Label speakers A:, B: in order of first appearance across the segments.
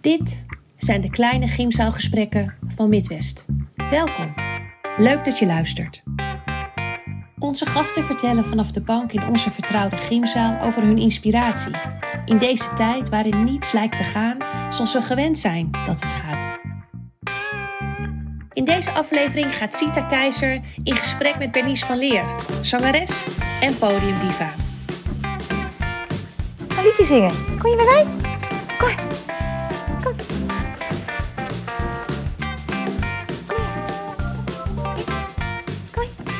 A: Dit zijn de kleine gymzaalgesprekken van Midwest. Welkom. Leuk dat je luistert. Onze gasten vertellen vanaf de bank in onze vertrouwde gymzaal over hun inspiratie. In deze tijd waarin niets lijkt te gaan zoals we gewend zijn dat het gaat. In deze aflevering gaat Sita Keizer in gesprek met Bernice van Leer, zangeres en podiumdiva.
B: Ga een liedje zingen. Kom je bij mij? Kom. Kom. Kom hier. Kom hier.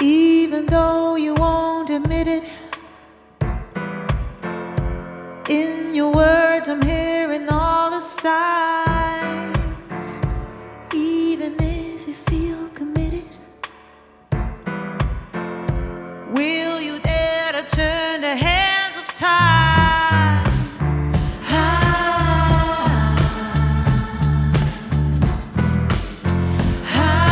C: even though you won't admit it. In your words, I'm hearing all the signs. Even if you feel committed, will you dare to turn the hands of time? Ah. High.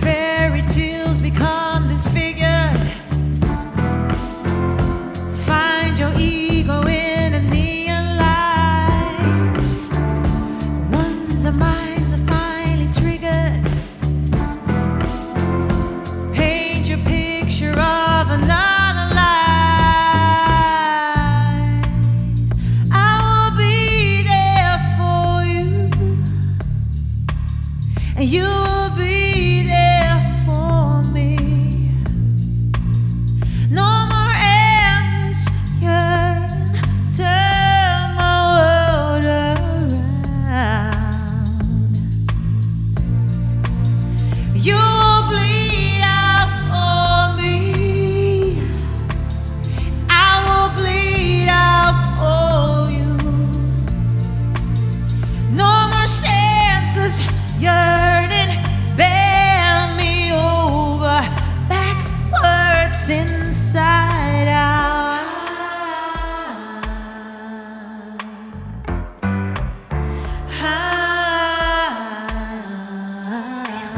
C: Fairy tales become disfigured. Find your ego in the neon lights. One's and minds are finally triggered. Paint your picture of another life. I will be there for you, and you will be there for me. No more endless yearning. Turn my world around. You bleed out for me. I will bleed out for you. No more senseless yearning. Bear me over backwards inside out. High.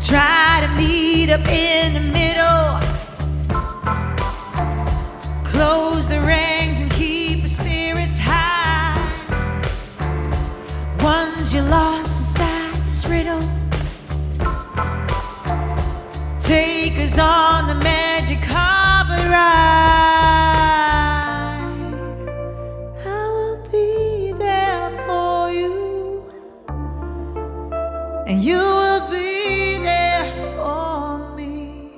C: Try to meet up in the middle. Close the ranks and keep the spirits high. Once you're lost inside this riddle, take us on the magic carpet ride. I will be there for you and you will be there for me.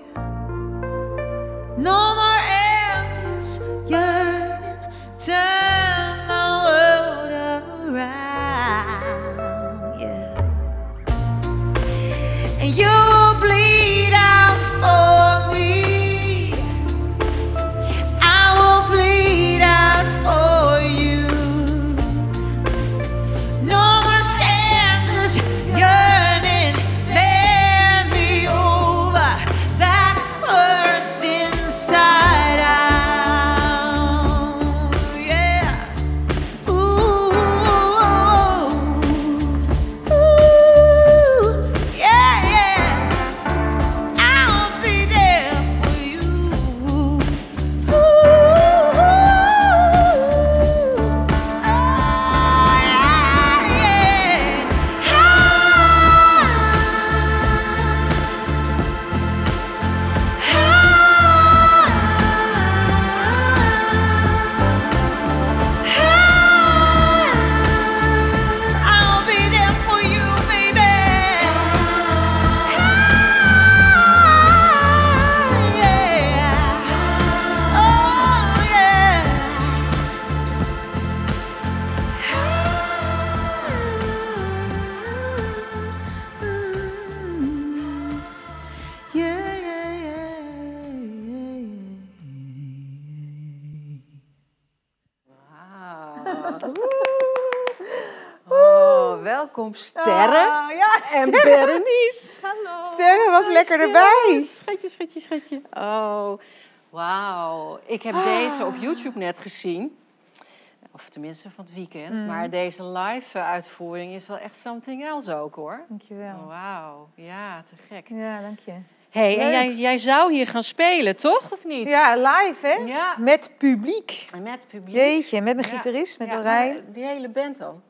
C: No more endless yearning, turn my world around, yeah. And you will bleed out for me. I
D: Oh,
E: Oh, welkom Sterren
D: Ah, ja,
E: en Oh, Berenice. Hallo.
D: Sterren was lekker
E: Sterren,
D: erbij.
E: Schatje, schatje, schatje. Oh, wauw. Ik heb deze op YouTube net gezien. Of tenminste van het weekend. Maar deze live eh, uitvoering is wel echt something else ook hoor.
D: Dankjewel.
E: Wauw, ja, te gek.
D: Ja, dank je.
E: hey, en
D: Leuk.
E: jij, jij zou hier gaan spelen, toch? Of niet?
D: Ja, live hè?
E: Ja,
D: Met publiek.
E: en met publiek.
D: Jeetje, met mijn
E: Ja.
D: gitarist, met
E: Ja,
D: Lorijn.
E: maar Die hele band dan.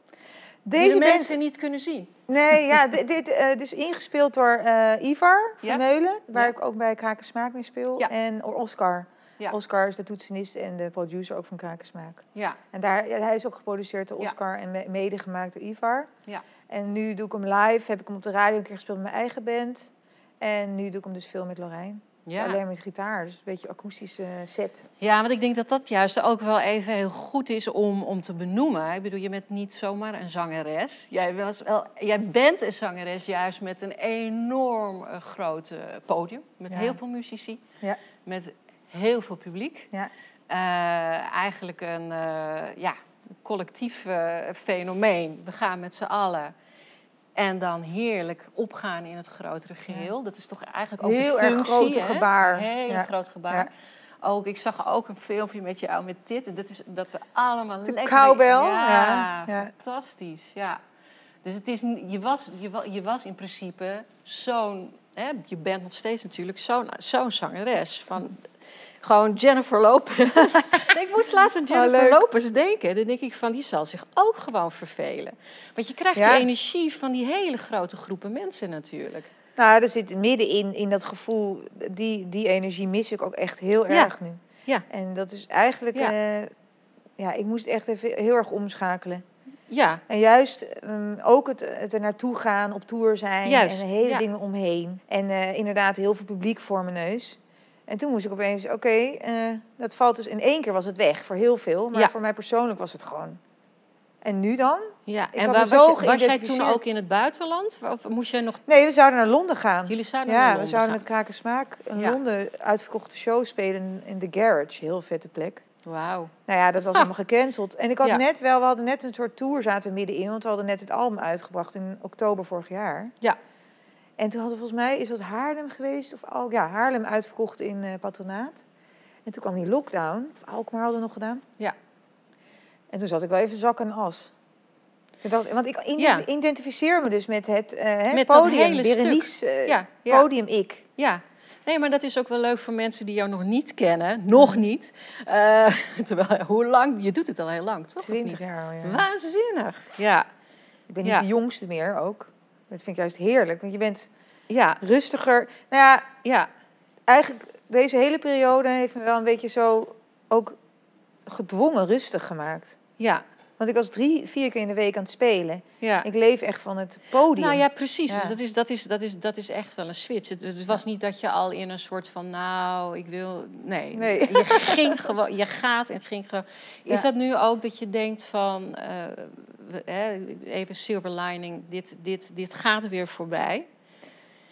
D: Deze
E: die de
D: mensen.
E: mensen niet kunnen zien.
D: Nee, ja, dit, dit eh, dit is ingespeeld door eh, Ivar van
E: Ja.
D: Meulen, waar
E: Ja.
D: ik ook bij Krakensmaak mee speel.
E: Ja.
D: En Oscar.
E: Ja.
D: Oscar is de toetsenist en de producer ook van Krakensmaak.
E: Ja,
D: En daar, ja, hij is ook geproduceerd door
E: Ja.
D: Oscar en me- mede gemaakt door Ivar.
E: Ja.
D: En nu doe ik hem live, heb ik hem op de radio een keer gespeeld met mijn eigen band. En nu doe ik hem dus veel met Lorijn. Dus
E: ja.
D: alleen met gitaar, dus een beetje akoestische set.
E: Ja, want ik denk dat dat juist ook wel even heel goed is om, om te benoemen. Ik bedoel, je bent niet zomaar een zangeres. Jij, was wel, jij bent een zangeres juist met een enorm eh, groot eh, podium. Met
D: Ja.
E: heel veel muzici.
D: Ja.
E: Met heel veel publiek.
D: Ja.
E: Eh, eigenlijk een eh, ja, collectief eh, fenomeen. We gaan met z'n allen. En dan heerlijk opgaan in het grotere geheel. Dat is toch eigenlijk ook
D: Heel
E: de
D: erg
E: functie,
D: grote
E: hè?
D: gebaar.
E: Heel
D: Ja.
E: groot gebaar.
D: Ja.
E: Ook, ik zag ook een filmpje met jou met dit. En dat is dat we allemaal
D: De
E: lekker...
D: cowbell,
E: Ja,
D: ja, ja.
E: fantastisch. Ja. Dus het is, n- je, was, je, wa- je was in principe zo'n... Hè, je bent nog steeds natuurlijk zo'n zo'n zangeres. Van, gewoon Jennifer Lopez. ik moest laatst aan Jennifer
D: Oh, leuk.
E: Lopez denken. Dan denk ik van, die zal zich ook gewoon vervelen. Want je krijgt
D: Ja.
E: de energie van die hele grote groepen mensen natuurlijk.
D: Nou, er zit middenin, in dat gevoel, die, die energie mis ik ook echt heel
E: Ja.
D: erg nu.
E: Ja.
D: En dat is eigenlijk,
E: Ja.
D: eh, ja, ik moest echt even heel erg omschakelen.
E: Ja,
D: En juist ehm, ook het, het er naartoe gaan, op tour zijn
E: Juist,
D: en de hele
E: ja.
D: dingen omheen. En eh, inderdaad heel veel publiek voor mijn neus. En toen moest ik opeens, oké, eh, dat valt dus in één keer was het weg voor heel veel. Maar
E: Ja.
D: voor mij persoonlijk was het gewoon. En nu dan?
E: Ja,
D: Ik
E: en
D: had
E: waar
D: me
E: was,
D: zo
E: je- was jij toen
D: geïdentificeerd.
E: ook in het buitenland? Of moest jij nog...
D: Nee, we zouden naar Londen gaan.
E: Jullie zouden
D: Ja,
E: naar
D: we
E: Londen
D: zouden met
E: gaan.
D: Kraken Smaak een
E: Ja.
D: Londen uitverkochte show spelen in de Garage. Heel vette plek.
E: Wauw.
D: Nou ja, dat was allemaal gecanceld. En ik had
E: Ah. Ja.
D: net wel, we hadden net een soort tour zaten we middenin, want we hadden net het album uitgebracht in oktober vorig jaar.
E: Ja.
D: En toen hadden we volgens mij, is dat Haarlem geweest? Of Al- ja, Haarlem uitverkocht in eh patronaat. En toen kwam die lockdown, of Alkmaar hadden we nog gedaan.
E: Ja.
D: En toen zat ik wel even zak en as. Toen dacht ik- want ik ident-
E: Ja.
D: identificeer me dus met het eh, hè,
E: Met dat
D: podium.
E: hele stuk.
D: Berenice, eh,
E: Ja, ja,
D: podium ik.
E: ja. Nee, maar dat is ook wel leuk voor mensen die jou nog niet kennen.
D: Mm.
E: Nog niet. Eh, terwijl, hoe lang? Je doet het al heel lang, toch? Of
D: Twintig
E: niet?
D: jaar al, ja.
E: Waanzinnig. Ja.
D: Ik ben niet
E: Ja.
D: de jongste meer ook. Dat vind ik juist heerlijk, want je bent
E: Ja.
D: rustiger. Nou ja,
E: Ja.
D: eigenlijk deze hele periode heeft me wel een beetje zo ook gedwongen rustig gemaakt.
E: Ja.
D: Want ik was drie, vier keer in de week aan het spelen.
E: Ja.
D: Ik leef echt van het podium.
E: Nou ja, precies.
D: Ja.
E: Dus dat is, dat, is, dat, is, dat is echt wel een switch. Het, het was niet dat je al in een soort van, nou, ik wil. Nee.
D: Nee.
E: Je ging gewoon, je gaat en ging gewoon. Is
D: Ja.
E: dat nu ook dat je denkt van, eh, we- hè, even silver lining, dit, dit, dit gaat weer voorbij?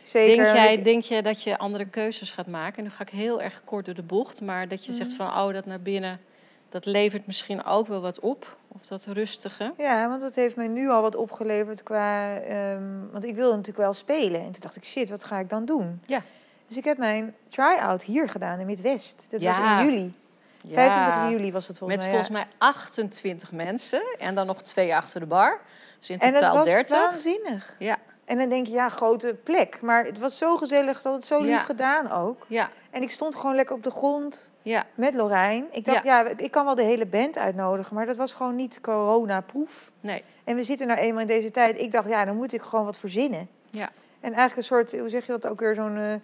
D: Zeker.
E: denk,
D: want
E: jij,
D: ik-
E: denk je dat je andere keuzes gaat maken? En nu ga ik heel erg kort door de bocht, maar dat je
D: Mhm.
E: zegt van, oh, dat naar binnen, dat levert misschien ook wel wat op. Of dat rustige.
D: Ja, want dat heeft mij nu al wat opgeleverd qua... ehm, want ik wilde natuurlijk wel spelen. En toen dacht ik, shit, wat ga ik dan doen?
E: Ja.
D: Dus ik heb mijn try-out hier gedaan in Midwest. Dat
E: Ja.
D: was in juli.
E: Ja.
D: 25 juli was het volgens
E: Met
D: mij. ja.
E: volgens mij 28 mensen en dan nog twee achter de bar. Dus in
D: En dat
E: totaal
D: was
E: 30.
D: waanzinnig.
E: Ja.
D: En dan denk je, ja, grote plek. Maar het was zo gezellig, dat het zo lief
E: Ja.
D: gedaan ook.
E: Ja,
D: En ik stond gewoon lekker op de grond
E: ja,
D: met Lorijn. Ik dacht, ja, ik kan wel de hele band uitnodigen, maar dat was gewoon niet coronaproof.
E: nee.
D: En we zitten nou eenmaal in deze tijd. Ik dacht, ja, dan moet ik gewoon wat verzinnen.
E: Ja.
D: En eigenlijk een soort, hoe zeg je dat ook weer, zo'n... eh,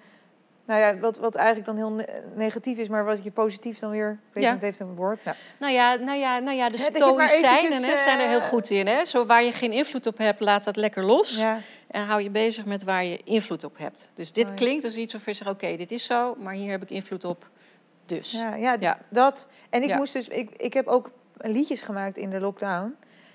D: nou ja, wat, wat eigenlijk dan heel ne- negatief is, maar wat je positief dan weer... Ik weet
E: Ja.
D: niet, het heeft een woord. Nou,
E: Nou ja, nou ja, nou ja de
D: Ja, dat je maar
E: stoïcijnen
D: eventjes,
E: hè, zijn er heel
D: eh,
E: goed in. Hè? Zo waar je geen invloed op hebt, laat dat lekker los.
D: ja.
E: En hou je bezig met waar je invloed op hebt. Dus dit
D: Mooi.
E: klinkt als iets waarvan je zegt, oké, dit is zo, maar hier heb ik invloed op. Dus, ja.
D: Ja, ja,
E: Ja.
D: dat. En ik
E: Ja.
D: moest dus, ik, ik heb ook liedjes gemaakt in de lockdown.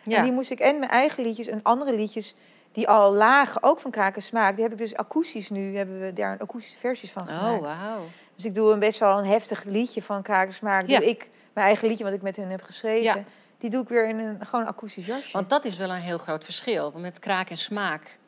D: En
E: Ja.
D: die moest ik en mijn eigen liedjes en andere liedjes die al lagen, ook van Kraken Smaak, die heb ik dus akoestisch nu, hebben we daar een akoestische versies van
E: Oh,
D: gemaakt.
E: wauw.
D: Dus ik doe een best wel een heftig liedje van Kraken Smaak.
E: Ja.
D: Doe ik mijn eigen liedje wat ik met hun heb geschreven.
E: Ja.
D: Die doe ik weer in een gewoon akoestisch jasje.
E: Want dat is wel een heel groot verschil. Want Met kraak en smaak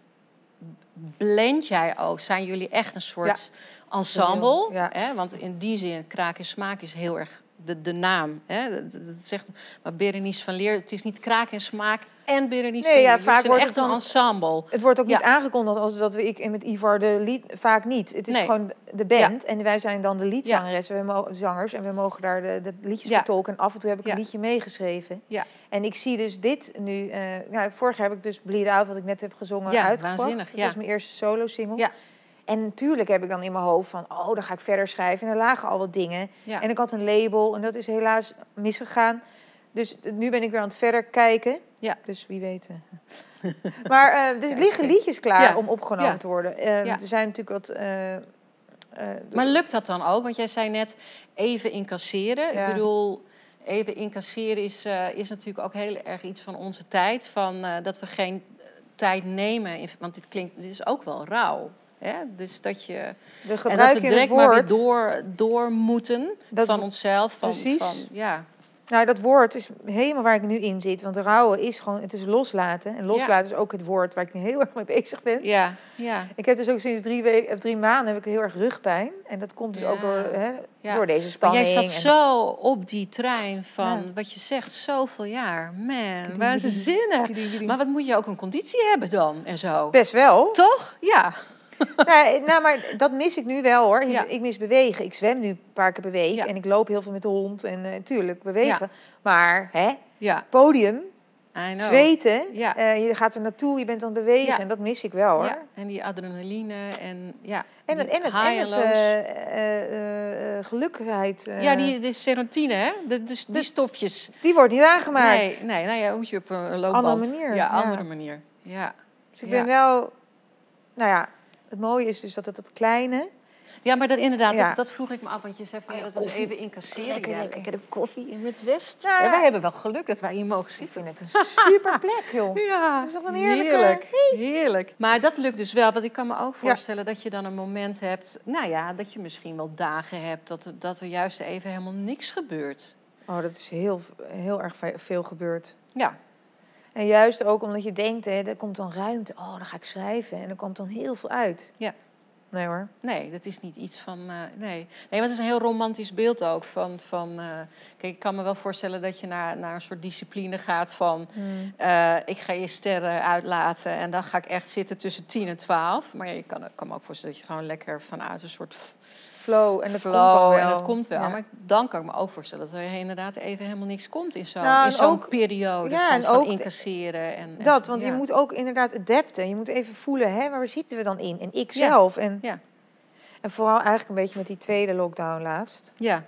E: blend jij ook. Zijn jullie echt een soort ensemble?
D: Ja.
E: Hè? Want in die zin, kraak en smaak is heel erg de, de naam. Hè? Dat, dat- dat zegt, maar Berenice van Leer, het is niet kraak en smaak en Berenice
D: Nee,
E: van
D: ja,
E: Leer. Jullie
D: vaak
E: zijn
D: wordt
E: echt
D: het
E: een
D: dan-
E: ensemble.
D: het wordt ook
E: Ja.
D: niet aangekondigd als dat we ik en met Ivar de lied vaak niet. Het is
E: Nee.
D: gewoon de band en wij zijn dan de liedzangeres, we mo- zangers en we mogen daar de, de liedjes
E: Ja.
D: vertolken. En af en toe heb ik een
E: Ja.
D: liedje meegeschreven.
E: Ja.
D: En ik zie dus dit nu. eh nou, vorig jaar heb ik dus Bleed Out, wat ik net heb gezongen,
E: Ja,
D: uitgebracht.
E: waanzinnig,
D: Dat
E: ja.
D: was mijn eerste solo single.
E: Ja.
D: En natuurlijk heb ik dan in mijn hoofd van, oh, dan ga ik verder schrijven. En er lagen al wat dingen.
E: Ja.
D: En ik had een label en dat is helaas misgegaan. Dus eh, nu ben ik weer aan het verder kijken.
E: Ja.
D: Dus wie weet. eh. maar eh, dus er liggen liedjes klaar
E: Ja.
D: om opgenomen
E: Ja.
D: te worden. Eh,
E: Ja.
D: Er zijn natuurlijk wat... eh, eh,
E: Maar lukt dat dan ook? Want jij zei net even incasseren.
D: Ja.
E: Ik bedoel, even incasseren is, eh, is natuurlijk ook heel erg iets van onze tijd. Van, eh, dat we geen tijd nemen. in- want dit klinkt, dit is ook wel rauw. Hè? Dus dat je.
D: de
E: En dat we
D: gebruik in het
E: direct maar weer
D: woord...
E: door, door moeten
D: Dat
E: van
D: wo-
E: onszelf. Van,
D: precies.
E: Van, ja.
D: Nou, dat woord is helemaal waar ik nu in zit. Want rouwen is gewoon, het is loslaten. En loslaten is ook het woord waar ik nu heel erg mee bezig ben.
E: Ja, ja,
D: Ik heb dus ook sinds drie, weken, of drie maanden heb ik heel erg rugpijn. En dat komt dus
E: Ja.
D: ook door, hè,
E: ja.
D: door deze
E: Maar
D: spanning.
E: jij zat
D: en-
E: zo op die trein van
D: Ja.
E: wat je zegt, zoveel jaar. Man, waanzinnig. Maar wat moet je ook een conditie hebben dan en zo?
D: Best wel.
E: Toch? Ja.
D: Nee, nou, maar dat mis ik nu wel hoor. Ik-
E: Ja.
D: Ik mis bewegen. Ik zwem nu een paar keer per week.
E: Ja.
D: En ik loop heel veel met de hond. En eh, tuurlijk, bewegen. Maar hè,
E: Ja,
D: podium,
E: I know.
D: zweten.
E: Ja.
D: eh, je gaat er naartoe, je bent aan het bewegen.
E: Ja.
D: En dat mis ik wel hoor.
E: Ja, en die adrenaline en ja.
D: En het,
E: die
D: en het,
E: high
D: en het
E: lows.
D: eh, eh, eh, eh, gelukkigheid, eh,
E: ja, die,
D: die...
E: de serotine, hè? De, dus die
D: de-
E: stofjes.
D: wordt niet aangemaakt.
E: Nee, nee, nou ja, moet je op een een loopband.
D: Andere manier,
E: Ja,
D: ja.
E: andere manier. Ja.
D: Dus ik ben
E: ja.
D: wel... Nou ja, het mooie is dus dat het dat kleine...
E: ja, maar dat inderdaad,
D: Ja.
E: dat, dat vroeg ik me af, want je zei van ja, dat was even incasseren.
B: Lekker,
E: ja,
B: lekker.
E: lekkere koffie in het West.
D: Nou
E: Ja,
D: ja.
E: wij hebben wel geluk dat wij hier mogen zitten.
D: het een super plek, joh.
E: Ja, dat
D: is toch een heerlijke-
E: Heerlijk, heerlijk. Maar dat lukt dus wel, want ik kan me ook voorstellen dat je dan een moment hebt... Nou ja, dat je misschien wel dagen hebt dat, er- dat er juist even helemaal niks gebeurt.
D: Oh, dat is heel, heel erg ve- veel gebeurd.
E: Ja,
D: En juist ook omdat je denkt, hè, er komt dan ruimte. Oh, dan ga ik schrijven. En er komt dan heel veel uit.
E: Ja.
D: Nee hoor.
E: nee, dat is niet iets van... eh, nee. nee, want het is een heel romantisch beeld ook van... van eh, kijk, ik kan me wel voorstellen dat je naar, naar een soort discipline gaat van... eh, ik ga je sterren uitlaten en dan ga ik echt zitten tussen 10 en 12. Maar je kan, ik kan me ook voorstellen dat je gewoon lekker vanuit een soort
D: Flow. En dat
E: flow
D: komt al wel.
E: en dat komt wel.
D: Ja.
E: Maar dan kan ik me ook voorstellen dat er inderdaad even helemaal niks komt in zo'n
D: Nou,
E: in
D: en
E: zo'n
D: ook-
E: periode
D: ja,
E: van,
D: en
E: van
D: ook de-
E: incasseren. En, en
D: Dat,
E: van-
D: want
E: ja.
D: je moet ook inderdaad adapten. Je moet even voelen, hè, waar zitten we dan in? En ik
E: Ja.
D: zelf. En,
E: Ja.
D: en vooral eigenlijk een beetje met die tweede lockdown laatst.
E: Ja,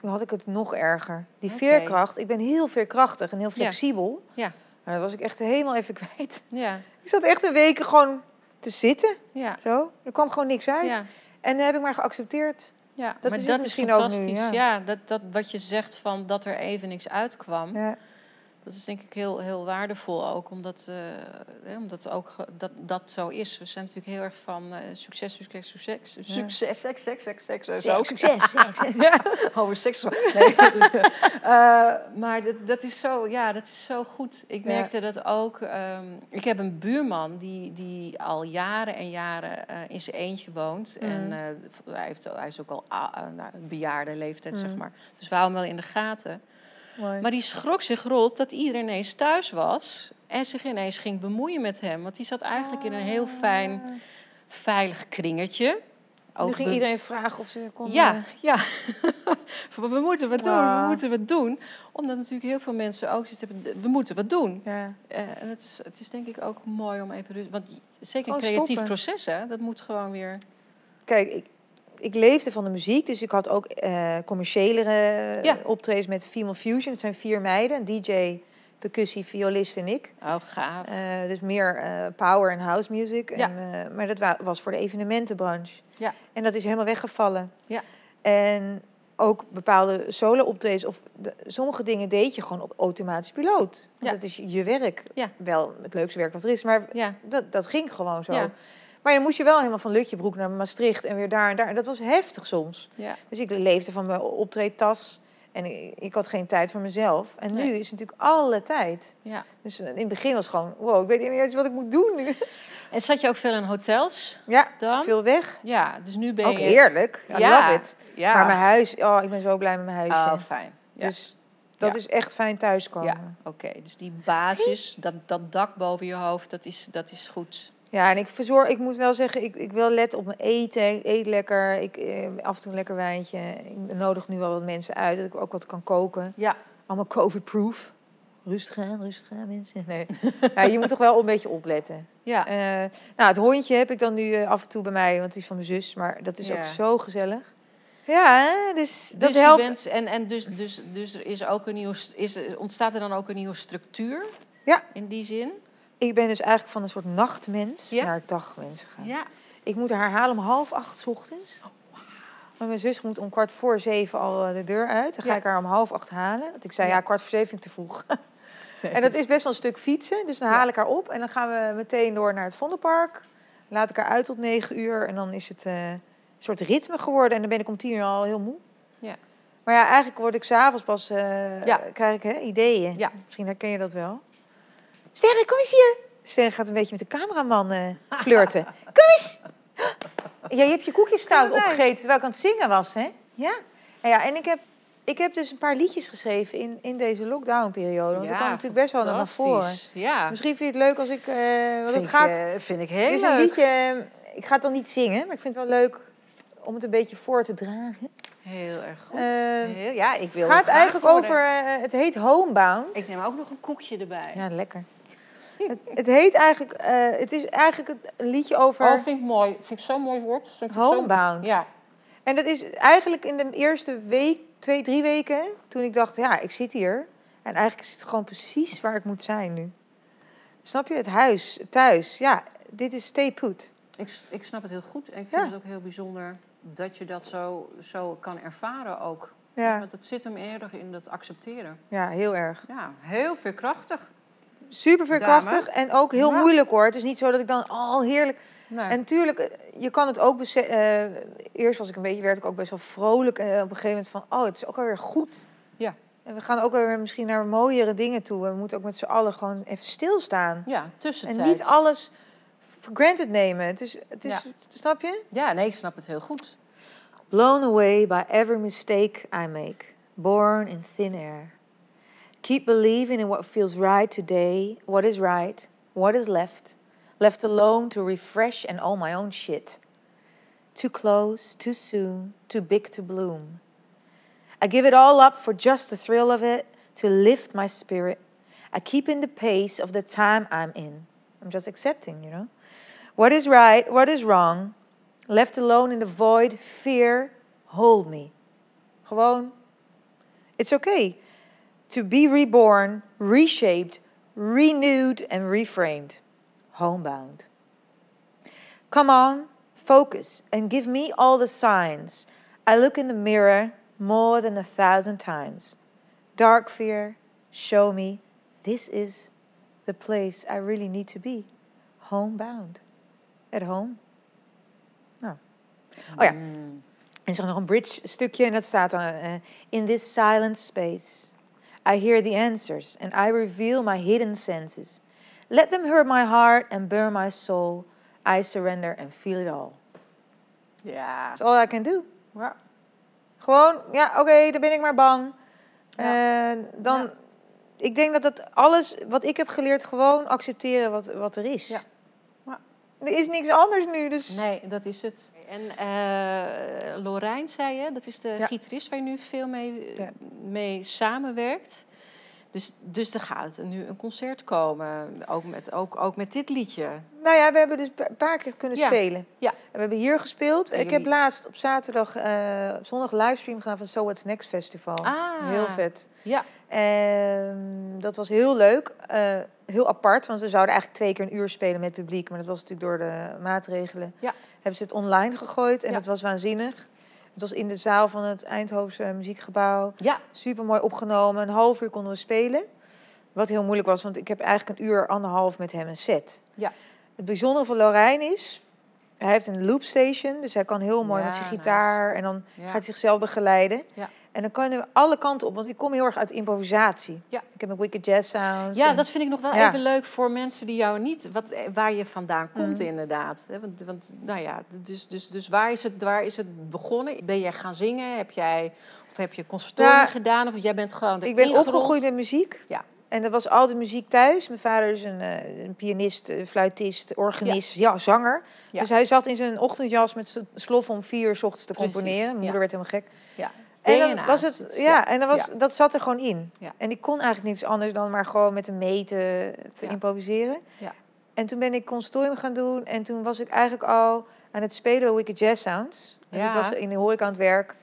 D: Toen had ik het nog erger. Die
E: Oké.
D: veerkracht, ik ben heel veerkrachtig en heel flexibel.
E: Ja.
D: Maar dat was ik echt helemaal even kwijt.
E: ja,
D: Ik zat echt een weken gewoon te zitten,
E: ja.
D: zo. Er kwam gewoon niks uit.
E: ja.
D: En dat heb ik maar geaccepteerd.
E: Ja,
D: Dat
E: maar
D: is het
E: dat is
D: misschien ook nu,
E: fantastisch.
D: ja.
E: ja, dat, dat wat je zegt van dat er even niks uitkwam.
D: Ja.
E: Dat is denk ik heel, heel waardevol ook, omdat, eh, hè, omdat ook ge- dat, dat zo is. We zijn natuurlijk heel erg van eh, succes, succes, succes, succes, seks, seks, seks, seks en zo.
D: Succes, succes.
E: Over seks. Nee, dat is, eh, maar dat, dat, is zo, ja, dat is zo goed. Ik
D: Ja.
E: merkte dat ook. ehm, ik heb een buurman die, die al jaren en jaren eh, in zijn eentje woont. En
D: Mhm.
E: eh, hij, heeft, hij is ook al a- eh, nou, een bejaarde leeftijd, zeg maar. Dus we houden hem wel in de gaten.
D: Mooi.
E: Maar die schrok zich rot dat iedereen ineens thuis was. En zich ineens ging bemoeien met hem. Want die zat eigenlijk in een heel
D: Ah.
E: fijn, veilig kringetje.
D: nu ging
E: be-
D: iedereen eh, vragen of ze weer konden...
E: ja, ja. Van, we moeten wat doen, we
D: Ah.
E: moeten wat doen. Omdat natuurlijk heel veel mensen ook zoiets hebben, we moeten wat doen.
D: Ja.
E: Eh, en het is, het is denk ik ook mooi om even rust... Want zeker
D: Gewoon
E: een creatief
D: Oh, stoppen.
E: proces, hè, dat moet gewoon weer...
D: Kijk, ik, ik leefde van de muziek, dus ik had ook eh commerciële eh,
E: Ja.
D: optredens met Female Fusion. Dat zijn vier meiden, een DJ, percussie, violist en ik.
E: Oh, gaaf.
D: Eh, dus meer eh, power en house music.
E: Ja.
D: En, eh, maar dat wa- was voor de evenementenbranche.
E: Ja.
D: En dat is helemaal weggevallen.
E: Ja.
D: En ook bepaalde solo-optredens of de- sommige dingen deed je gewoon op automatisch piloot. Want
E: Ja.
D: dat is je werk.
E: Ja.
D: Wel het leukste werk wat er is, maar
E: Eh, Ja,
D: dat, dat ging gewoon zo.
E: Ja.
D: Maar dan moest je wel helemaal van Lutjebroek naar Maastricht en weer daar en daar. En dat was heftig soms.
E: ja,
D: Dus ik leefde van mijn optreedtas. En ik, ik had geen tijd voor mezelf. En
E: Nee.
D: nu is natuurlijk alle tijd.
E: Ja.
D: Dus in het begin was het gewoon, wow, ik weet niet eens wat ik moet doen nu.
E: En zat je ook veel in hotels?
D: Ja,
E: Dan?
D: veel weg.
E: Ja, dus nu ben
D: Ook
E: je...
D: heerlijk. I
E: Ja.
D: love it.
E: Ja.
D: Maar mijn huis, oh, ik ben zo blij met mijn huisje.
E: Oh, fijn. Ja.
D: Dus dat
E: Ja.
D: is echt fijn thuiskomen.
E: Oké, dus die basis, dat, dat dak boven je hoofd, dat is, dat is goed.
D: Ja, en ik verzorg, ik moet wel zeggen, ik, ik wil let op mijn eten. Ik eet lekker, ik eh, af en toe een lekker wijntje. Ik nodig nu wel wat mensen uit, dat ik ook wat kan koken.
E: Ja.
D: Allemaal COVID-proof. Rustig aan, rustig aan mensen. Nee. Ja, je moet toch wel een beetje opletten.
E: Ja,
D: Eh, nou, het hondje heb ik dan nu eh, af en toe bij mij, want die is van mijn zus. Maar dat is
E: Ja.
D: ook zo gezellig. Ja, hè, dus, dat
E: dus je
D: helpt.
E: bent- en en dus, dus, dus er is ook een nieuwe, st- is, er- ontstaat er dan ook een nieuwe structuur?
D: Ja.
E: In die zin?
D: Ik ben dus eigenlijk van een soort nachtmens
E: Ja.
D: naar dagmens gegaan.
E: Ja. Oh,
D: Ik moet haar halen om half acht 's ochtends. Maar mijn zus moet om kwart voor zeven al eh, de deur uit. Dan ga
E: Ja.
D: ik haar om half acht halen. Want ik zei,
E: Ja.
D: ja, kwart voor zeven vind ik te vroeg. en dat is best wel een stuk fietsen. Dus dan haal
E: Ja.
D: ik haar op. En dan gaan we meteen door naar het Vondelpark. Laat ik haar uit tot negen uur. En dan is het eh, een soort ritme geworden. En dan ben ik om tien uur al heel moe.
E: Ja.
D: Maar ja, eigenlijk word ik s'avonds pas... eh,
E: Ja.
D: Krijg ik hè, ideeën.
E: Ja.
D: Misschien herken je dat wel. Sterre, kom eens hier. Sterre gaat een beetje met de cameraman eh, flirten. Kom eens. Ja, je hebt je koekjes stout opgegeten terwijl ik aan het zingen was, hè? Ja. En, ja, en ik, heb, ik heb dus een paar liedjes geschreven in, in deze lockdownperiode. Want
E: Ja,
D: dat kwam natuurlijk best wel naar voren.
E: fantastisch. Ja.
D: Misschien vind je het leuk als ik... eh want
E: Vind
D: het
E: ik,
D: gaat...
E: eh, vind ik
D: Er
E: heel
D: is
E: leuk.
D: een liedje... eh, Ik ga het dan niet zingen, maar ik vind het wel leuk om het een beetje voor te dragen.
E: Heel erg goed.
D: Eh,
E: Heel- ja, ik wil
D: het gaat
E: graag
D: eigenlijk
E: horen.
D: over... eh, het heet Homebound.
E: Ik neem ook nog een koekje erbij.
D: Ja, lekker. het, het heet eigenlijk... eh, het is eigenlijk het- een liedje over...
E: Oh, vind ik mooi. Vind ik zo'n mooi woord. Vind ik zo'n-
D: Homebound.
E: Ja.
D: En dat is eigenlijk in de eerste week, twee, drie weken, toen ik dacht, ja, ik zit hier. En eigenlijk is het gewoon precies waar ik moet zijn nu. Snap je? Het huis, thuis. Ja, dit is stay put.
E: Ik, s- ik snap het heel goed. En ik vind
D: Ja.
E: het ook heel bijzonder dat je dat zo, zo kan ervaren ook.
D: Ja,
E: Want het zit hem eerder in dat accepteren.
D: ja heel erg.
E: Ja, heel veerkrachtig.
D: Super veerkrachtig en ook heel
E: Ja.
D: moeilijk hoor. Het is niet zo dat ik dan, oh heerlijk.
E: Nee.
D: En tuurlijk, eh, je kan het ook bese- eh, eerst was ik een beetje, werd ik ook best wel vrolijk. En op een gegeven moment van, oh, het is ook alweer goed.
E: Ja.
D: En we gaan ook weer misschien naar mooiere dingen toe. En we moeten ook met z'n allen gewoon even stilstaan.
E: ja,
D: En
E: tussentijd.
D: niet alles for granted nemen. Het is, het is, snap je?
E: Ja, nee, ik snap het heel goed.
D: Blown away by every mistake I make, born in thin air. Keep believing in what feels right today, what is right, what is left, left alone to refresh and all my own shit. Too close, too soon, too big to bloom. I give it all up for just the thrill of it, to lift my spirit. I keep in the pace of the time I'm in. I'm just accepting, you know? What is right, what is wrong, left alone in the void, fear, hold me. Gewoon, it's okay to be reborn, reshaped, renewed, and reframed. Homebound. Come on, focus, and give me all the signs. I look in the mirror more than a thousand times. Dark fear, show me this is the place I really need to be. Homebound. At home. Nou. Oh ja. En er is nog een bridge stukje en dat staat dan... eh, in this silent space, I hear the answers and I reveal my hidden senses. Let them hurt my heart and burn my soul. I surrender and feel it all.
E: Ja.
D: That's all I can do. Gewoon, ja, oké, dan ben ik maar bang. Eh, dan, ik denk dat dat alles wat ik heb geleerd, gewoon accepteren wat, wat er is.
E: Ja. Ja.
D: Er is niks anders nu, dus...
E: Nee, dat is het. En eh, Lorijn zei je, dat is de
D: Ja.
E: gitarist waar je nu veel mee,
D: Ja.
E: mee samenwerkt. Dus, dus er gaat nu een concert komen, ook met, ook, ook met dit liedje.
D: Nou ja, we hebben dus een paar keer kunnen
E: Ja,
D: spelen.
E: ja.
D: En we hebben hier gespeeld.
E: En
D: Ik heb
E: jullie-
D: laatst op zaterdag, eh, op zondag livestream gedaan van So What's Next Festival.
E: Ah.
D: Heel vet.
E: Ja.
D: Ehm, dat was heel leuk. Eh, heel apart, want we zouden eigenlijk twee keer een uur spelen met publiek. Maar dat was natuurlijk door de maatregelen.
E: Ja.
D: Hebben ze het online gegooid en
E: Ja.
D: dat was waanzinnig. Het was in de zaal van het Eindhovense Muziekgebouw.
E: Ja,
D: Super mooi opgenomen. Een half uur konden we spelen. Wat heel moeilijk was, want ik heb eigenlijk een uur, anderhalf met hem een set.
E: Ja.
D: Het bijzondere van Lorijn is, Hij heeft een loopstation, dus hij kan heel mooi
E: Ja,
D: met zijn
E: nice.
D: gitaar. En dan
E: Ja.
D: gaat hij zichzelf begeleiden.
E: Ja.
D: En dan kunnen we alle kanten op, want ik kom heel erg uit improvisatie.
E: Ja.
D: Ik heb een Wicked Jazz Sounds.
E: Ja,
D: en-
E: dat vind ik nog wel
D: Ja. Mm.
E: even leuk voor mensen die jou niet, wat, eh, waar je vandaan komt inderdaad. Hè, Want, want nou ja, dus, dus, dus waar, is het, waar is het begonnen? Ben jij gaan zingen? Heb jij, of heb je conservatorium
D: Nou,
E: gedaan? Of jij bent gewoon
D: Ik ben
E: ingerold?
D: opgegroeid met muziek.
E: Ja.
D: En er was altijd muziek thuis. Mijn vader is een, eh, een pianist, eh, fluitist, organist, ja, zanger.
E: Ja.
D: Dus hij zat in zijn ochtendjas met z'n slof om vier uur 's ochtends te
E: Precies,
D: componeren. Mijn
E: ja.
D: moeder werd helemaal gek.
E: Ja.
D: En dan
E: DNA
D: was
E: is
D: het, ja, en dan was,
E: Ja.
D: dat zat er gewoon in.
E: Ja.
D: En ik kon eigenlijk niets anders dan maar gewoon met een meten te
E: Ja.
D: improviseren.
E: Ja.
D: En toen ben ik consortium gaan doen en toen was ik eigenlijk al aan het spelen bij Wicked Jazz Sounds. En
E: Ja.
D: ik was in de horeca aan het werk.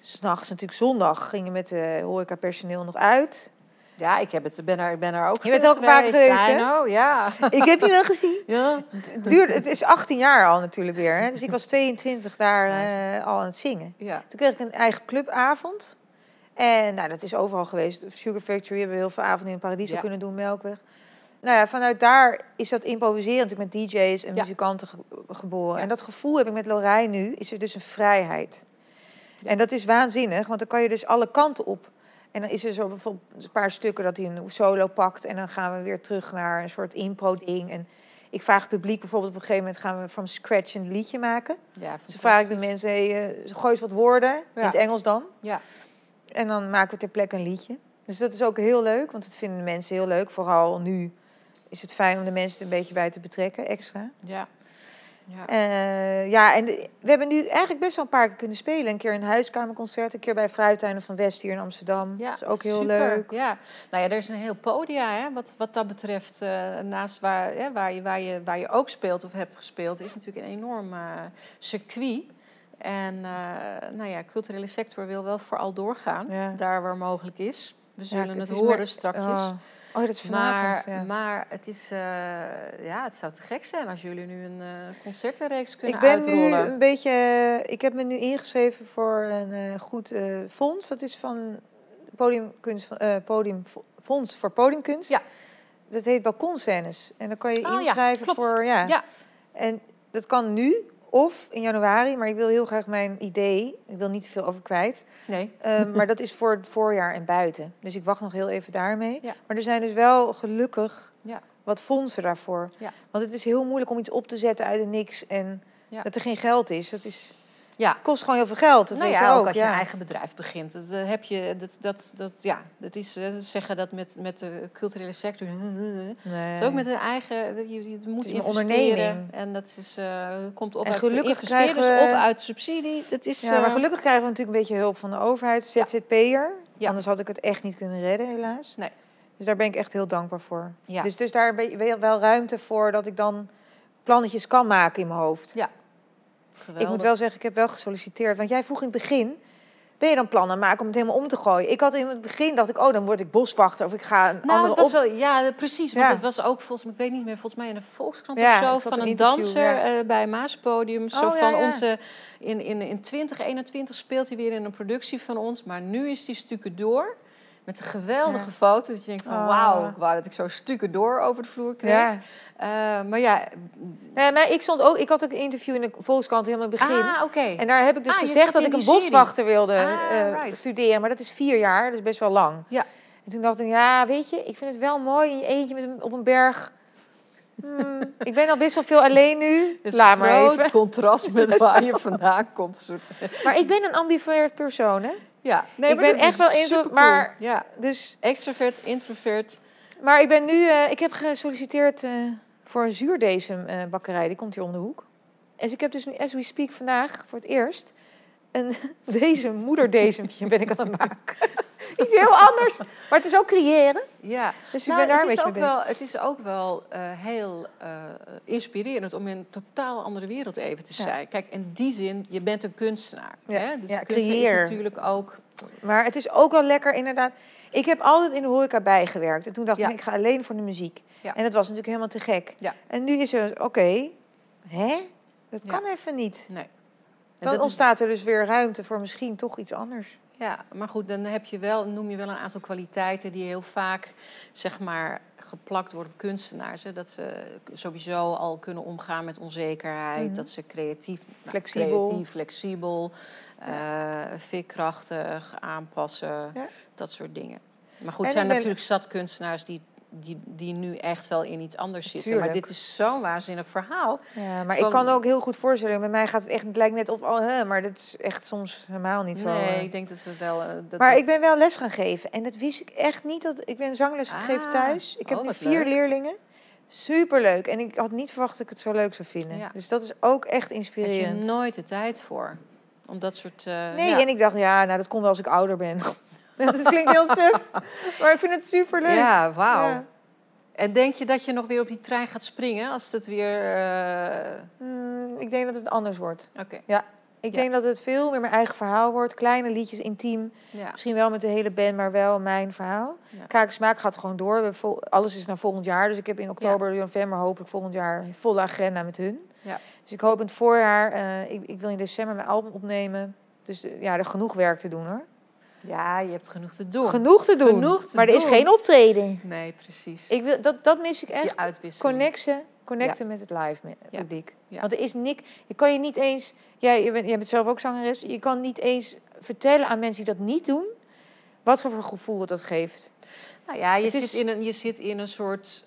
D: S'nachts, natuurlijk zondag, gingen met de horecapersoneel nog uit.
E: Ja, ik heb het, ben, er, ik ben er ook
D: Je bent
E: veel
D: ook vaak geweest, hè?
E: I know, ja.
D: ik heb je wel gezien.
E: ja.
D: Het, duurde, het is 18 jaar al natuurlijk weer. Hè? Dus ik was 22 daar
E: Nice.
D: eh, al aan het zingen.
E: Ja.
D: Toen kreeg ik een eigen clubavond. En nou, dat is overal geweest. Sugar Factory hebben we heel veel avonden in Paradiso
E: Ja.
D: kunnen doen, Melkweg. Nou ja, vanuit daar is dat improviseren natuurlijk met DJ's en
E: Ja.
D: muzikanten ge- geboren. En dat gevoel heb ik met Lorij nu, is er dus een vrijheid. En dat is waanzinnig, want dan kan je dus alle kanten op. En dan is er zo bijvoorbeeld een paar stukken dat hij een solo pakt. En dan gaan we weer terug naar een soort impro-ding. En ik vraag het publiek bijvoorbeeld op een gegeven moment gaan we from scratch een liedje maken.
E: ja
D: Zo vaak de
E: fantastisch.
D: mensen, hey, eh, gooi eens wat woorden, in het Engels dan.
E: Ja.
D: En dan maken we ter plekke een liedje. Dus dat is ook heel leuk, want dat vinden de mensen heel leuk. Vooral nu is het fijn om de mensen er een beetje bij te betrekken, extra.
E: Ja. Ja.
D: Eh, ja, en de- we hebben nu eigenlijk best wel een paar keer kunnen spelen. Een keer een huiskamerconcert, een keer bij Fruituinen van West hier in Amsterdam. dat is ook heel
E: super,
D: leuk.
E: Ja. Nou ja, er is een heel podia hè, wat, wat dat betreft. eh, naast waar, hè, waar, je, waar, je, waar je ook speelt of hebt gespeeld, is natuurlijk een enorm eh, circuit. En eh, nou ja, culturele sector wil wel vooral doorgaan,
D: Ja.
E: daar waar mogelijk is. We
D: Ja,
E: zullen het,
D: is
E: horen
D: meer-
E: strakjes.
D: Oh. oh, dat is vanavond.
E: Maar,
D: ja.
E: maar het, is, eh, ja, het zou te gek zijn als jullie nu een eh concertenreeks kunnen
D: Ik ben
E: uitrollen.
D: nu een beetje. eh, Ik heb me nu ingeschreven voor een eh, goed eh, fonds. Dat is van podiumkunst, van- eh, podium, Fonds voor Podiumkunst.
E: Ja.
D: Dat heet Balkonscènes. En dan kan je
E: Oh ja,
D: inschrijven
E: klopt.
D: voor. Ja.
E: Ja.
D: En dat kan nu of in januari. Maar ik wil heel graag mijn idee. Ik wil niet te veel over kwijt.
E: Nee.
D: Eh, maar dat is voor het voorjaar en buiten. Dus ik wacht nog heel even daarmee.
E: Ja.
D: Maar er zijn dus wel gelukkig
E: Ja.
D: wat fondsen daarvoor.
E: Ja.
D: Want het is heel moeilijk om iets op te zetten uit het niks en
E: Ja.
D: dat er geen geld is. Dat is,
E: Ja.
D: het kost gewoon heel veel geld. Dat
E: nou
D: weet
E: ja,
D: je ook.
E: als je
D: ja.
E: een eigen bedrijf begint. Dat, eh, heb je, dat, dat, dat, ja, dat is eh, zeggen dat met, met de culturele sector.
D: Nee.
E: Het is ook met een eigen, dat je, je moet
D: Eh. is een
E: investeren.
D: onderneming.
E: En dat is, eh, komt of
D: En
E: uit
D: gelukkig
E: investeerders
D: krijgen we-
E: of uit subsidie. Dat is,
D: Ja, maar
E: eh,
D: gelukkig krijgen we natuurlijk een beetje hulp van de overheid, ZZP'er.
E: Ja.
D: Anders had ik het echt niet kunnen redden, helaas.
E: Nee.
D: Dus daar ben ik echt heel dankbaar voor.
E: Ja.
D: Dus, dus daar ben je wel- wel ruimte voor dat ik dan plannetjes kan maken in mijn hoofd.
E: Ja, geweldig.
D: Ik moet wel zeggen, ik heb wel gesolliciteerd. Want jij vroeg in het begin, ben je dan plannen aan het maken om het helemaal om te gooien? Ik had in het begin, dacht ik, oh, dan word ik boswachter of ik ga een
E: Nou,
D: andere
E: dat was
D: op...
E: wel, ja, precies. Want
D: Ja.
E: het was ook volgens mij, ik weet niet meer, volgens mij in een Volkskrant
D: Ja,
E: of
D: ik
E: zo,
D: zat
E: van
D: een
E: een
D: interview,
E: danser
D: ja.
E: eh, bij Maaspodium. zo
D: Oh, ja,
E: van
D: ja.
E: onze, in, in, in 2021 speelt hij weer in een productie van ons, maar nu is die stukken door. Met een geweldige
D: Ja.
E: foto. Dat je denkt van,
D: Oh.
E: wauw, ik wou dat ik zo stukken door over de vloer kreeg.
D: Ja.
E: Eh, maar ja,
D: Nee, Eh, maar ik, stond ook, ik had ook een interview in de Volkskrant helemaal in het begin.
E: ah, oké.
D: En daar heb ik dus
E: Ah, je
D: gezegd
E: zat
D: dat
E: in
D: ik een
E: die serie.
D: boswachter wilde
E: Ah,
D: eh,
E: right.
D: studeren. Maar dat is vier jaar, dus best wel lang.
E: Ja.
D: En toen dacht ik, ja, weet je, ik vind het wel mooi in je eentje met een- op een berg. Hmm, ik ben al best wel veel alleen nu.
E: Dus
D: Laat maar
E: groot
D: even.
E: contrast met waar je vandaan komt. soort-
D: Maar ik ben een ambivert persoon, hè.
E: Ja, nee,
D: Ik
E: maar
D: ben
E: dat is
D: echt wel intro-
E: supercool.
D: maar-
E: Ja,
D: Dus
E: extrovert, introvert.
D: Maar ik ben nu, eh, ik heb gesolliciteerd eh, voor een zuurdesembakkerij. bakkerij. die komt hier om de hoek. En dus ik heb dus nu, as we speak vandaag, voor het eerst... een deze moederdezempje ben ik aan het maken. Iets heel anders. Maar het is ook creëren.
E: Ja.
D: Dus
E: Nou,
D: ik ben daar een
E: het is
D: beetje mee
E: ook
D: bezig.
E: wel, Het is ook wel eh, heel eh, inspirerend om in een totaal andere wereld even te
D: Ja.
E: zijn. Kijk, in die zin, je bent een kunstenaar.
D: Ja,
E: Hè? Dus
D: ja,
E: een kunstenaar
D: creëer.
E: is natuurlijk ook...
D: Maar het is ook wel lekker, inderdaad. Ik heb altijd in de horeca bijgewerkt. En toen dacht
E: Ja.
D: ik, ik ga alleen voor de muziek.
E: Ja.
D: En dat was natuurlijk helemaal te gek.
E: Ja.
D: En nu is er, oké, hè? Dat
E: Ja.
D: kan even niet.
E: Nee. En
D: Dan
E: dat is-
D: ontstaat er dus weer ruimte voor misschien toch iets anders.
E: Ja, maar goed, dan heb je wel, noem je wel een aantal kwaliteiten die heel vaak zeg maar, geplakt worden op kunstenaars. Hè? Dat ze sowieso al kunnen omgaan met onzekerheid, dat ze creatief, nou,
D: Mhm. Flexibel.
E: creatief, flexibel eh, veerkrachtig, aanpassen,
D: Ja.
E: dat soort dingen. Maar goed,
D: En
E: er zijn
D: ik ben-
E: natuurlijk zat kunstenaars die, die, die nu echt wel in iets anders zitten. Maar
D: Tuurlijk.
E: dit is zo'n waanzinnig verhaal.
D: Ja, maar
E: Van-
D: ik kan ook heel goed voorstellen. Met mij gaat het echt, het lijkt net of al, hè, maar dat is echt soms helemaal niet zo.
E: nee,
D: eh.
E: ik denk dat we wel... eh, dat
D: maar
E: dat-
D: ik ben wel les gaan geven en dat wist ik echt niet. Dat ik ben zangles gegeven
E: Ah,
D: thuis. Ik heb
E: oh,
D: nu
E: wat
D: vier
E: leuk.
D: leerlingen. Superleuk. En ik had niet verwacht dat ik het zo leuk zou vinden.
E: Ja.
D: Dus dat is ook echt
E: Heb je
D: inspirerend.
E: nooit de tijd voor. Om dat soort... eh,
D: Nee,
E: ja.
D: en ik dacht, ja, nou dat komt wel als ik ouder ben. dat klinkt heel suf, maar ik vind het superleuk.
E: Ja, wauw.
D: Ja.
E: En denk je dat je nog weer op die trein gaat springen als het weer... eh,
D: Mm, ik denk dat het anders wordt.
E: Oké,
D: Ik
E: Ja.
D: denk dat het veel meer mijn eigen verhaal wordt. Kleine liedjes, intiem.
E: ja.
D: Misschien wel met de hele band, maar wel mijn verhaal.
E: Ja.
D: Kaak Smaak gaat gewoon door. We hebben vol- alles is naar volgend jaar. Dus ik heb in oktober, november hopelijk volgend jaar een volle agenda met hun.
E: Ja.
D: Dus ik hoop in het voorjaar, eh, ik, ik wil in december mijn album opnemen. Dus eh, ja, er genoeg werk te doen hoor.
E: Ja, je hebt genoeg te doen.
D: Genoeg te doen.
E: Genoeg te
D: maar er is
E: doen.
D: geen optreden.
E: Nee, precies.
D: Ik wil, dat, dat mis ik echt.
E: Die uitwisseling.
D: Connecten, connecten met het live me-
E: Ja.
D: publiek.
E: Ja.
D: Want er is niks. Je kan je niet eens. Jij je bent, jij bent zelf ook zangeres. Je kan niet eens vertellen aan mensen die dat niet doen. Wat voor gevoel het dat geeft.
E: Nou ja, je
D: Het
E: zit,
D: is-
E: in een, je zit in een soort...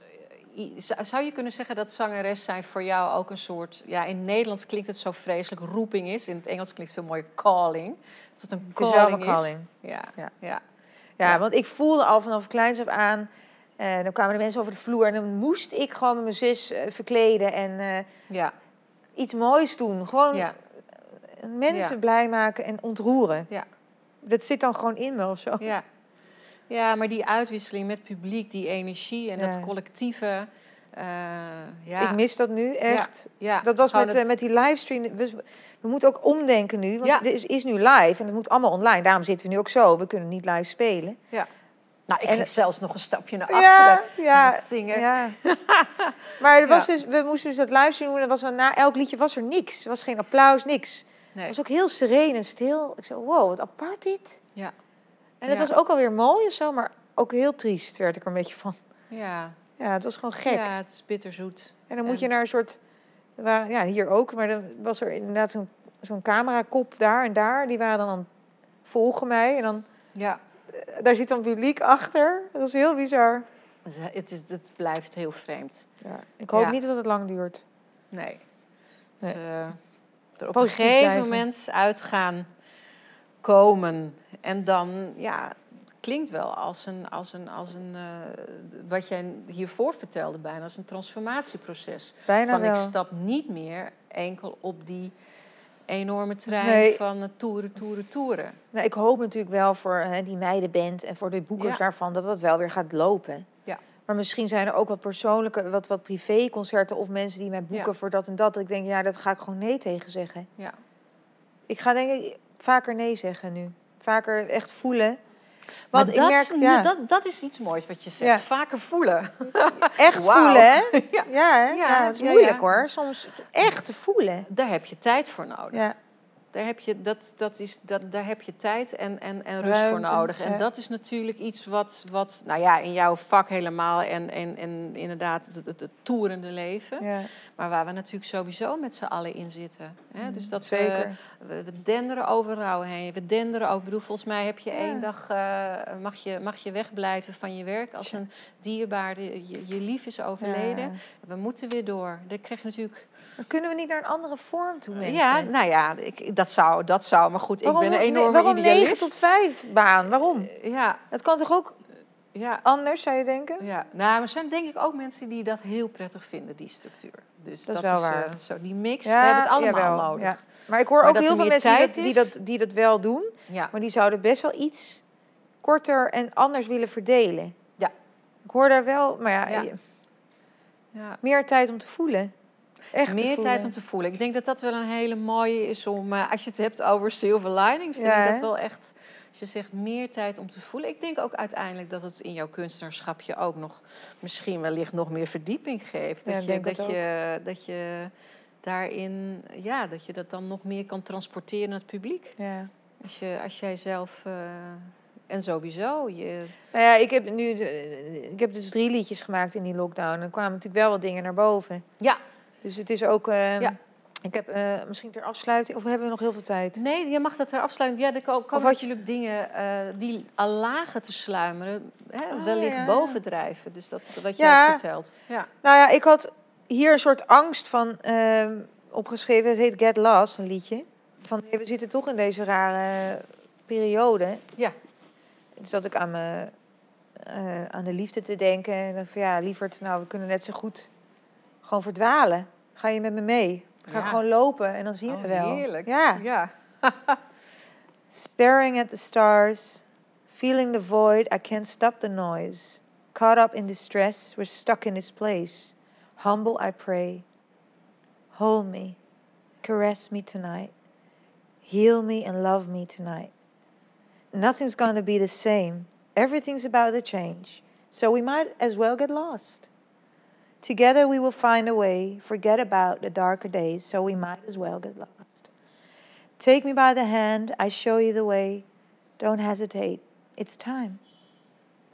E: eh, i- zou- Zou je kunnen zeggen dat zangeres zijn voor jou ook een soort... Ja, in Nederlands klinkt het zo vreselijk, roeping is. In het Engels klinkt het veel mooier, calling. Dat het een
D: Het is
E: calling
D: wel mijn calling.
E: Ja, ja.
D: Ja.
E: ja.
D: Ja,
E: Ja.
D: want ik voelde al vanaf kleins af aan. eh, dan kwamen de mensen over de vloer. En dan moest ik gewoon met mijn zus eh, verkleden. En eh,
E: ja.
D: iets moois doen. Gewoon
E: ja.
D: mensen
E: Ja.
D: blij maken en ontroeren.
E: Ja.
D: Dat zit dan gewoon in me of zo.
E: Ja. ja, maar die uitwisseling met publiek, die energie en dat
D: Ja.
E: collectieve. eh, ja,
D: Ik mis dat nu echt.
E: ja,
D: Dat was
E: gewoon
D: met,
E: het-
D: eh, met die livestream. Dus we moeten ook omdenken nu. Want
E: Ja.
D: dit is, is nu live en het moet allemaal online. Daarom zitten we nu ook zo. We kunnen niet live spelen.
E: nou, ik
D: en-
E: ging zelfs nog een stapje naar
D: Ja,
E: achteren.
D: ja,
E: het zingen.
D: ja. maar er was dus, we moesten dus dat livestream doen. En was dan, na elk liedje was er niks. Er was geen applaus, niks.
E: Nee.
D: Het was ook heel sereen en stil. Ik zei, wow, wat apart dit.
E: Ja.
D: En het
E: Ja.
D: was ook alweer mooi of zo. Maar ook heel triest werd ik er een beetje van.
E: Ja.
D: Ja, het was gewoon gek.
E: ja, het is bitterzoet.
D: En dan moet je
E: En-
D: naar een soort. er wa- Ja, hier ook, maar dan was er inderdaad zo'n zo'n camerakop daar en daar. Die waren dan aan het volgen mij. En dan,
E: Ja,
D: eh, daar zit dan publiek achter. Dat is heel bizar.
E: het, is- het, is, het blijft heel vreemd.
D: Ja, ik hoop
E: Ja.
D: niet dat het lang duurt.
E: Nee.
D: Nee.
E: Dus, eh, er op een
D: Positief
E: gegeven
D: blijven.
E: moment uitgaan komen. En dan, ja, het klinkt wel als een, als een, als een eh, wat jij hiervoor vertelde bijna, als een transformatieproces.
D: Bijna
E: van
D: wel.
E: ik stap niet meer enkel op die enorme trein
D: Nee.
E: van eh, toeren, toeren, toeren.
D: Nou, ik hoop natuurlijk wel voor hè, die meidenband en voor de boekers
E: Ja.
D: daarvan dat dat wel weer gaat lopen.
E: Ja.
D: Maar misschien zijn er ook wat persoonlijke, wat, wat privéconcerten of mensen die mij boeken
E: Ja.
D: voor dat en dat. Dat ik denk, ja, dat ga ik gewoon nee tegen zeggen.
E: Ja.
D: Ik ga denk ik vaker nee zeggen nu. Vaker echt voelen.
E: Maar
D: Want ik
E: dat,
D: merk,
E: is-
D: ja,
E: dat, dat is iets moois wat je zegt.
D: Ja.
E: Vaker voelen.
D: echt
E: Wauw.
D: voelen, hè?
E: Ja.
D: Ja, hè?
E: Ja,
D: ja, het is
E: ja, ja.
D: moeilijk hoor. Soms echt te voelen.
E: Daar heb je tijd voor nodig.
D: Ja,
E: Daar heb je, dat, dat is, dat, daar heb je tijd en, en, en rust
D: Ruimte,
E: voor nodig. En
D: ja.
E: dat is natuurlijk iets wat, wat, nou ja, in jouw vak helemaal en, en, en inderdaad het, het, het toerende leven.
D: ja
E: Maar waar we natuurlijk sowieso met z'n allen in zitten. Hè? Dus dat
D: Mm, zeker.
E: We, we, we denderen overal heen. We denderen ook. Ik bedoel, volgens mij heb je
D: Ja.
E: één dag, eh, mag, je, mag je wegblijven van je werk als een dierbare, je, je lief is overleden.
D: Ja.
E: We moeten weer door. Dat krijg je natuurlijk
D: Maar Kunnen we niet naar een andere vorm toe, mensen?
E: ja, nou ja, ik, dat, zou, dat zou. Maar goed, ik ben een
D: nee,
E: enorme
D: waarom 9
E: idealist. Eh,
D: tot 5 baan? Waarom?
E: Ja,
D: Dat kan toch ook
E: ja,
D: anders, zou je denken?
E: ja. Nou, maar er zijn denk ik ook mensen die dat heel prettig vinden, die structuur. Dus dat,
D: is wel
E: eh,
D: waar.
E: zo, die mix, we hebben het allemaal
D: jawel,
E: nodig.
D: ja. Maar ik hoor
E: Maar
D: ook
E: dat er
D: heel veel
E: meer
D: mensen die
E: tijd
D: dat, die,
E: is.
D: dat, die dat wel doen.
E: Ja.
D: Maar die zouden best wel iets korter en anders willen verdelen.
E: Ja.
D: Ik hoor daar wel, maar ja,
E: Ja.
D: je-
E: ja.
D: meer tijd om te voelen. Echt te
E: Meer tijd
D: voelen.
E: om te voelen. Ik denk dat dat wel een hele mooie is om, eh, als je het hebt over silver linings, vind
D: Ja,
E: ik dat
D: hè?
E: wel echt, als je zegt meer tijd om te voelen. Ik denk ook uiteindelijk dat het in jouw kunstenaarschapje ook nog, misschien wellicht nog meer verdieping geeft.
D: Ja,
E: Dat,
D: ik
E: je,
D: denk
E: dat,
D: het ook.
E: je, dat je daarin, ja, dat je dat dan nog meer kan transporteren naar het publiek.
D: Ja.
E: Als, je, als jij zelf... eh, en sowieso, je,
D: Nou ja, ik heb nu, de- ik heb dus drie liedjes gemaakt in die lockdown. Er kwamen natuurlijk wel wat dingen naar boven.
E: Ja.
D: Dus het is ook, ehm,
E: Ja.
D: ik heb eh, misschien ter afsluiting, of hebben we nog heel veel tijd?
E: Nee, je mag dat er afsluiten. Ja, er ko- komen
D: had je-
E: natuurlijk dingen eh, die aan lagen te sluimeren, hè,
D: Ah,
E: wellicht
D: ja, ja.
E: bovendrijven. Dus dat wat
D: Ja.
E: jij vertelt. Ja.
D: Nou ja, ik had hier een soort angst van ehm, opgeschreven. Het heet Get Lost, een liedje. Van hey, we zitten toch in deze rare periode.
E: Ja.
D: Dus dat ik aan, me, eh, aan de liefde te denken. En dan van ja, lieverd, nou we kunnen net zo goed gewoon verdwalen. Ga je met me mee? Ga
E: Ja.
D: gewoon lopen en dan zien we
E: Oh,
D: wel.
E: heerlijk.
D: Ja.
E: ja.
D: Staring at the stars, feeling the void, I can't stop the noise. Caught up in distress, we're stuck in this place. Humble, I pray. Hold me, caress me tonight. Heal me and love me tonight. Nothing's gonna be the same. Everything's about to change. So we might as well get lost. Together we will find a way, forget about the darker days, so we might as well get lost. Take me by the hand, I show you the way. Don't hesitate, it's time.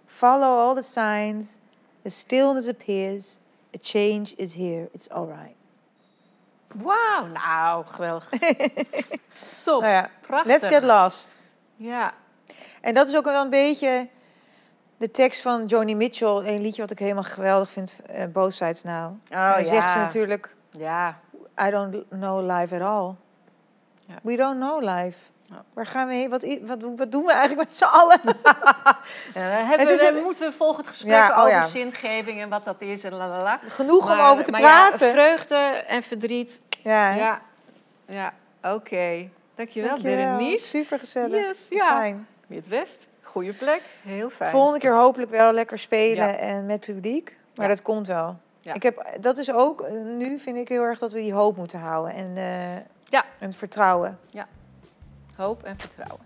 D: Follow all the signs, the stillness appears, a change is here, it's all right.
E: Wauw, nou, geweldig. Top,
D: Nou ja,
E: Oh, prachtig.
D: Let's get lost.
E: Ja,
D: En dat is ook wel een beetje de tekst van Joni Mitchell, een liedje wat ik helemaal geweldig vind, eh Both Sides Now. En
E: oh,
D: dan
E: ja.
D: zegt ze natuurlijk,
E: Ja,
D: I don't know life at all.
E: Ja.
D: We don't know life.
E: Ja.
D: Waar gaan we heen? Wat, i- wat, wat doen we eigenlijk met z'n allen?
E: en dan hebben
D: Het is
E: Eh, we,
D: een-
E: moeten we volgend gesprek
D: Ja, oh
E: over
D: ja.
E: zingeving en wat dat is en la la la.
D: Genoeg om
E: Maar-
D: over te
E: maar
D: praten.
E: Ja, vreugde en verdriet.
D: Ja, hè?
E: Ja, ja. oké. Dankjewel,
D: Dankjewel.
E: Berenice.
D: Super gezellig.
E: Yes, ja.
D: Fijn.
E: Midwest, goede plek, heel fijn.
D: Volgende keer hopelijk wel lekker spelen
E: Ja.
D: en met publiek. Maar
E: Ja.
D: dat komt wel.
E: Ja.
D: Ik heb, dat is ook, eh, nu vind ik heel erg dat we die hoop moeten houden. En, eh,
E: Ja.
D: en het vertrouwen.
E: Hoop en vertrouwen.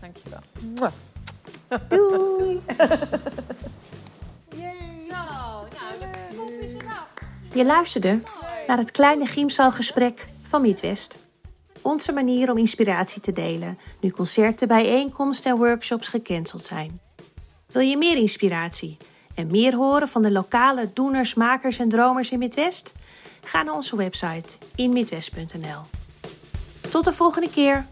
E: Dankjewel.
D: Mwah.
A: Je luisterde naar het kleine Giemzaalgesprek van Midwest. Onze manier om inspiratie te delen nu concerten, bijeenkomsten en workshops gecanceld zijn. Wil je meer inspiratie en meer horen van de lokale doeners, makers en dromers in Midwest? Ga naar onze website inmidwest.nl. Tot de volgende keer.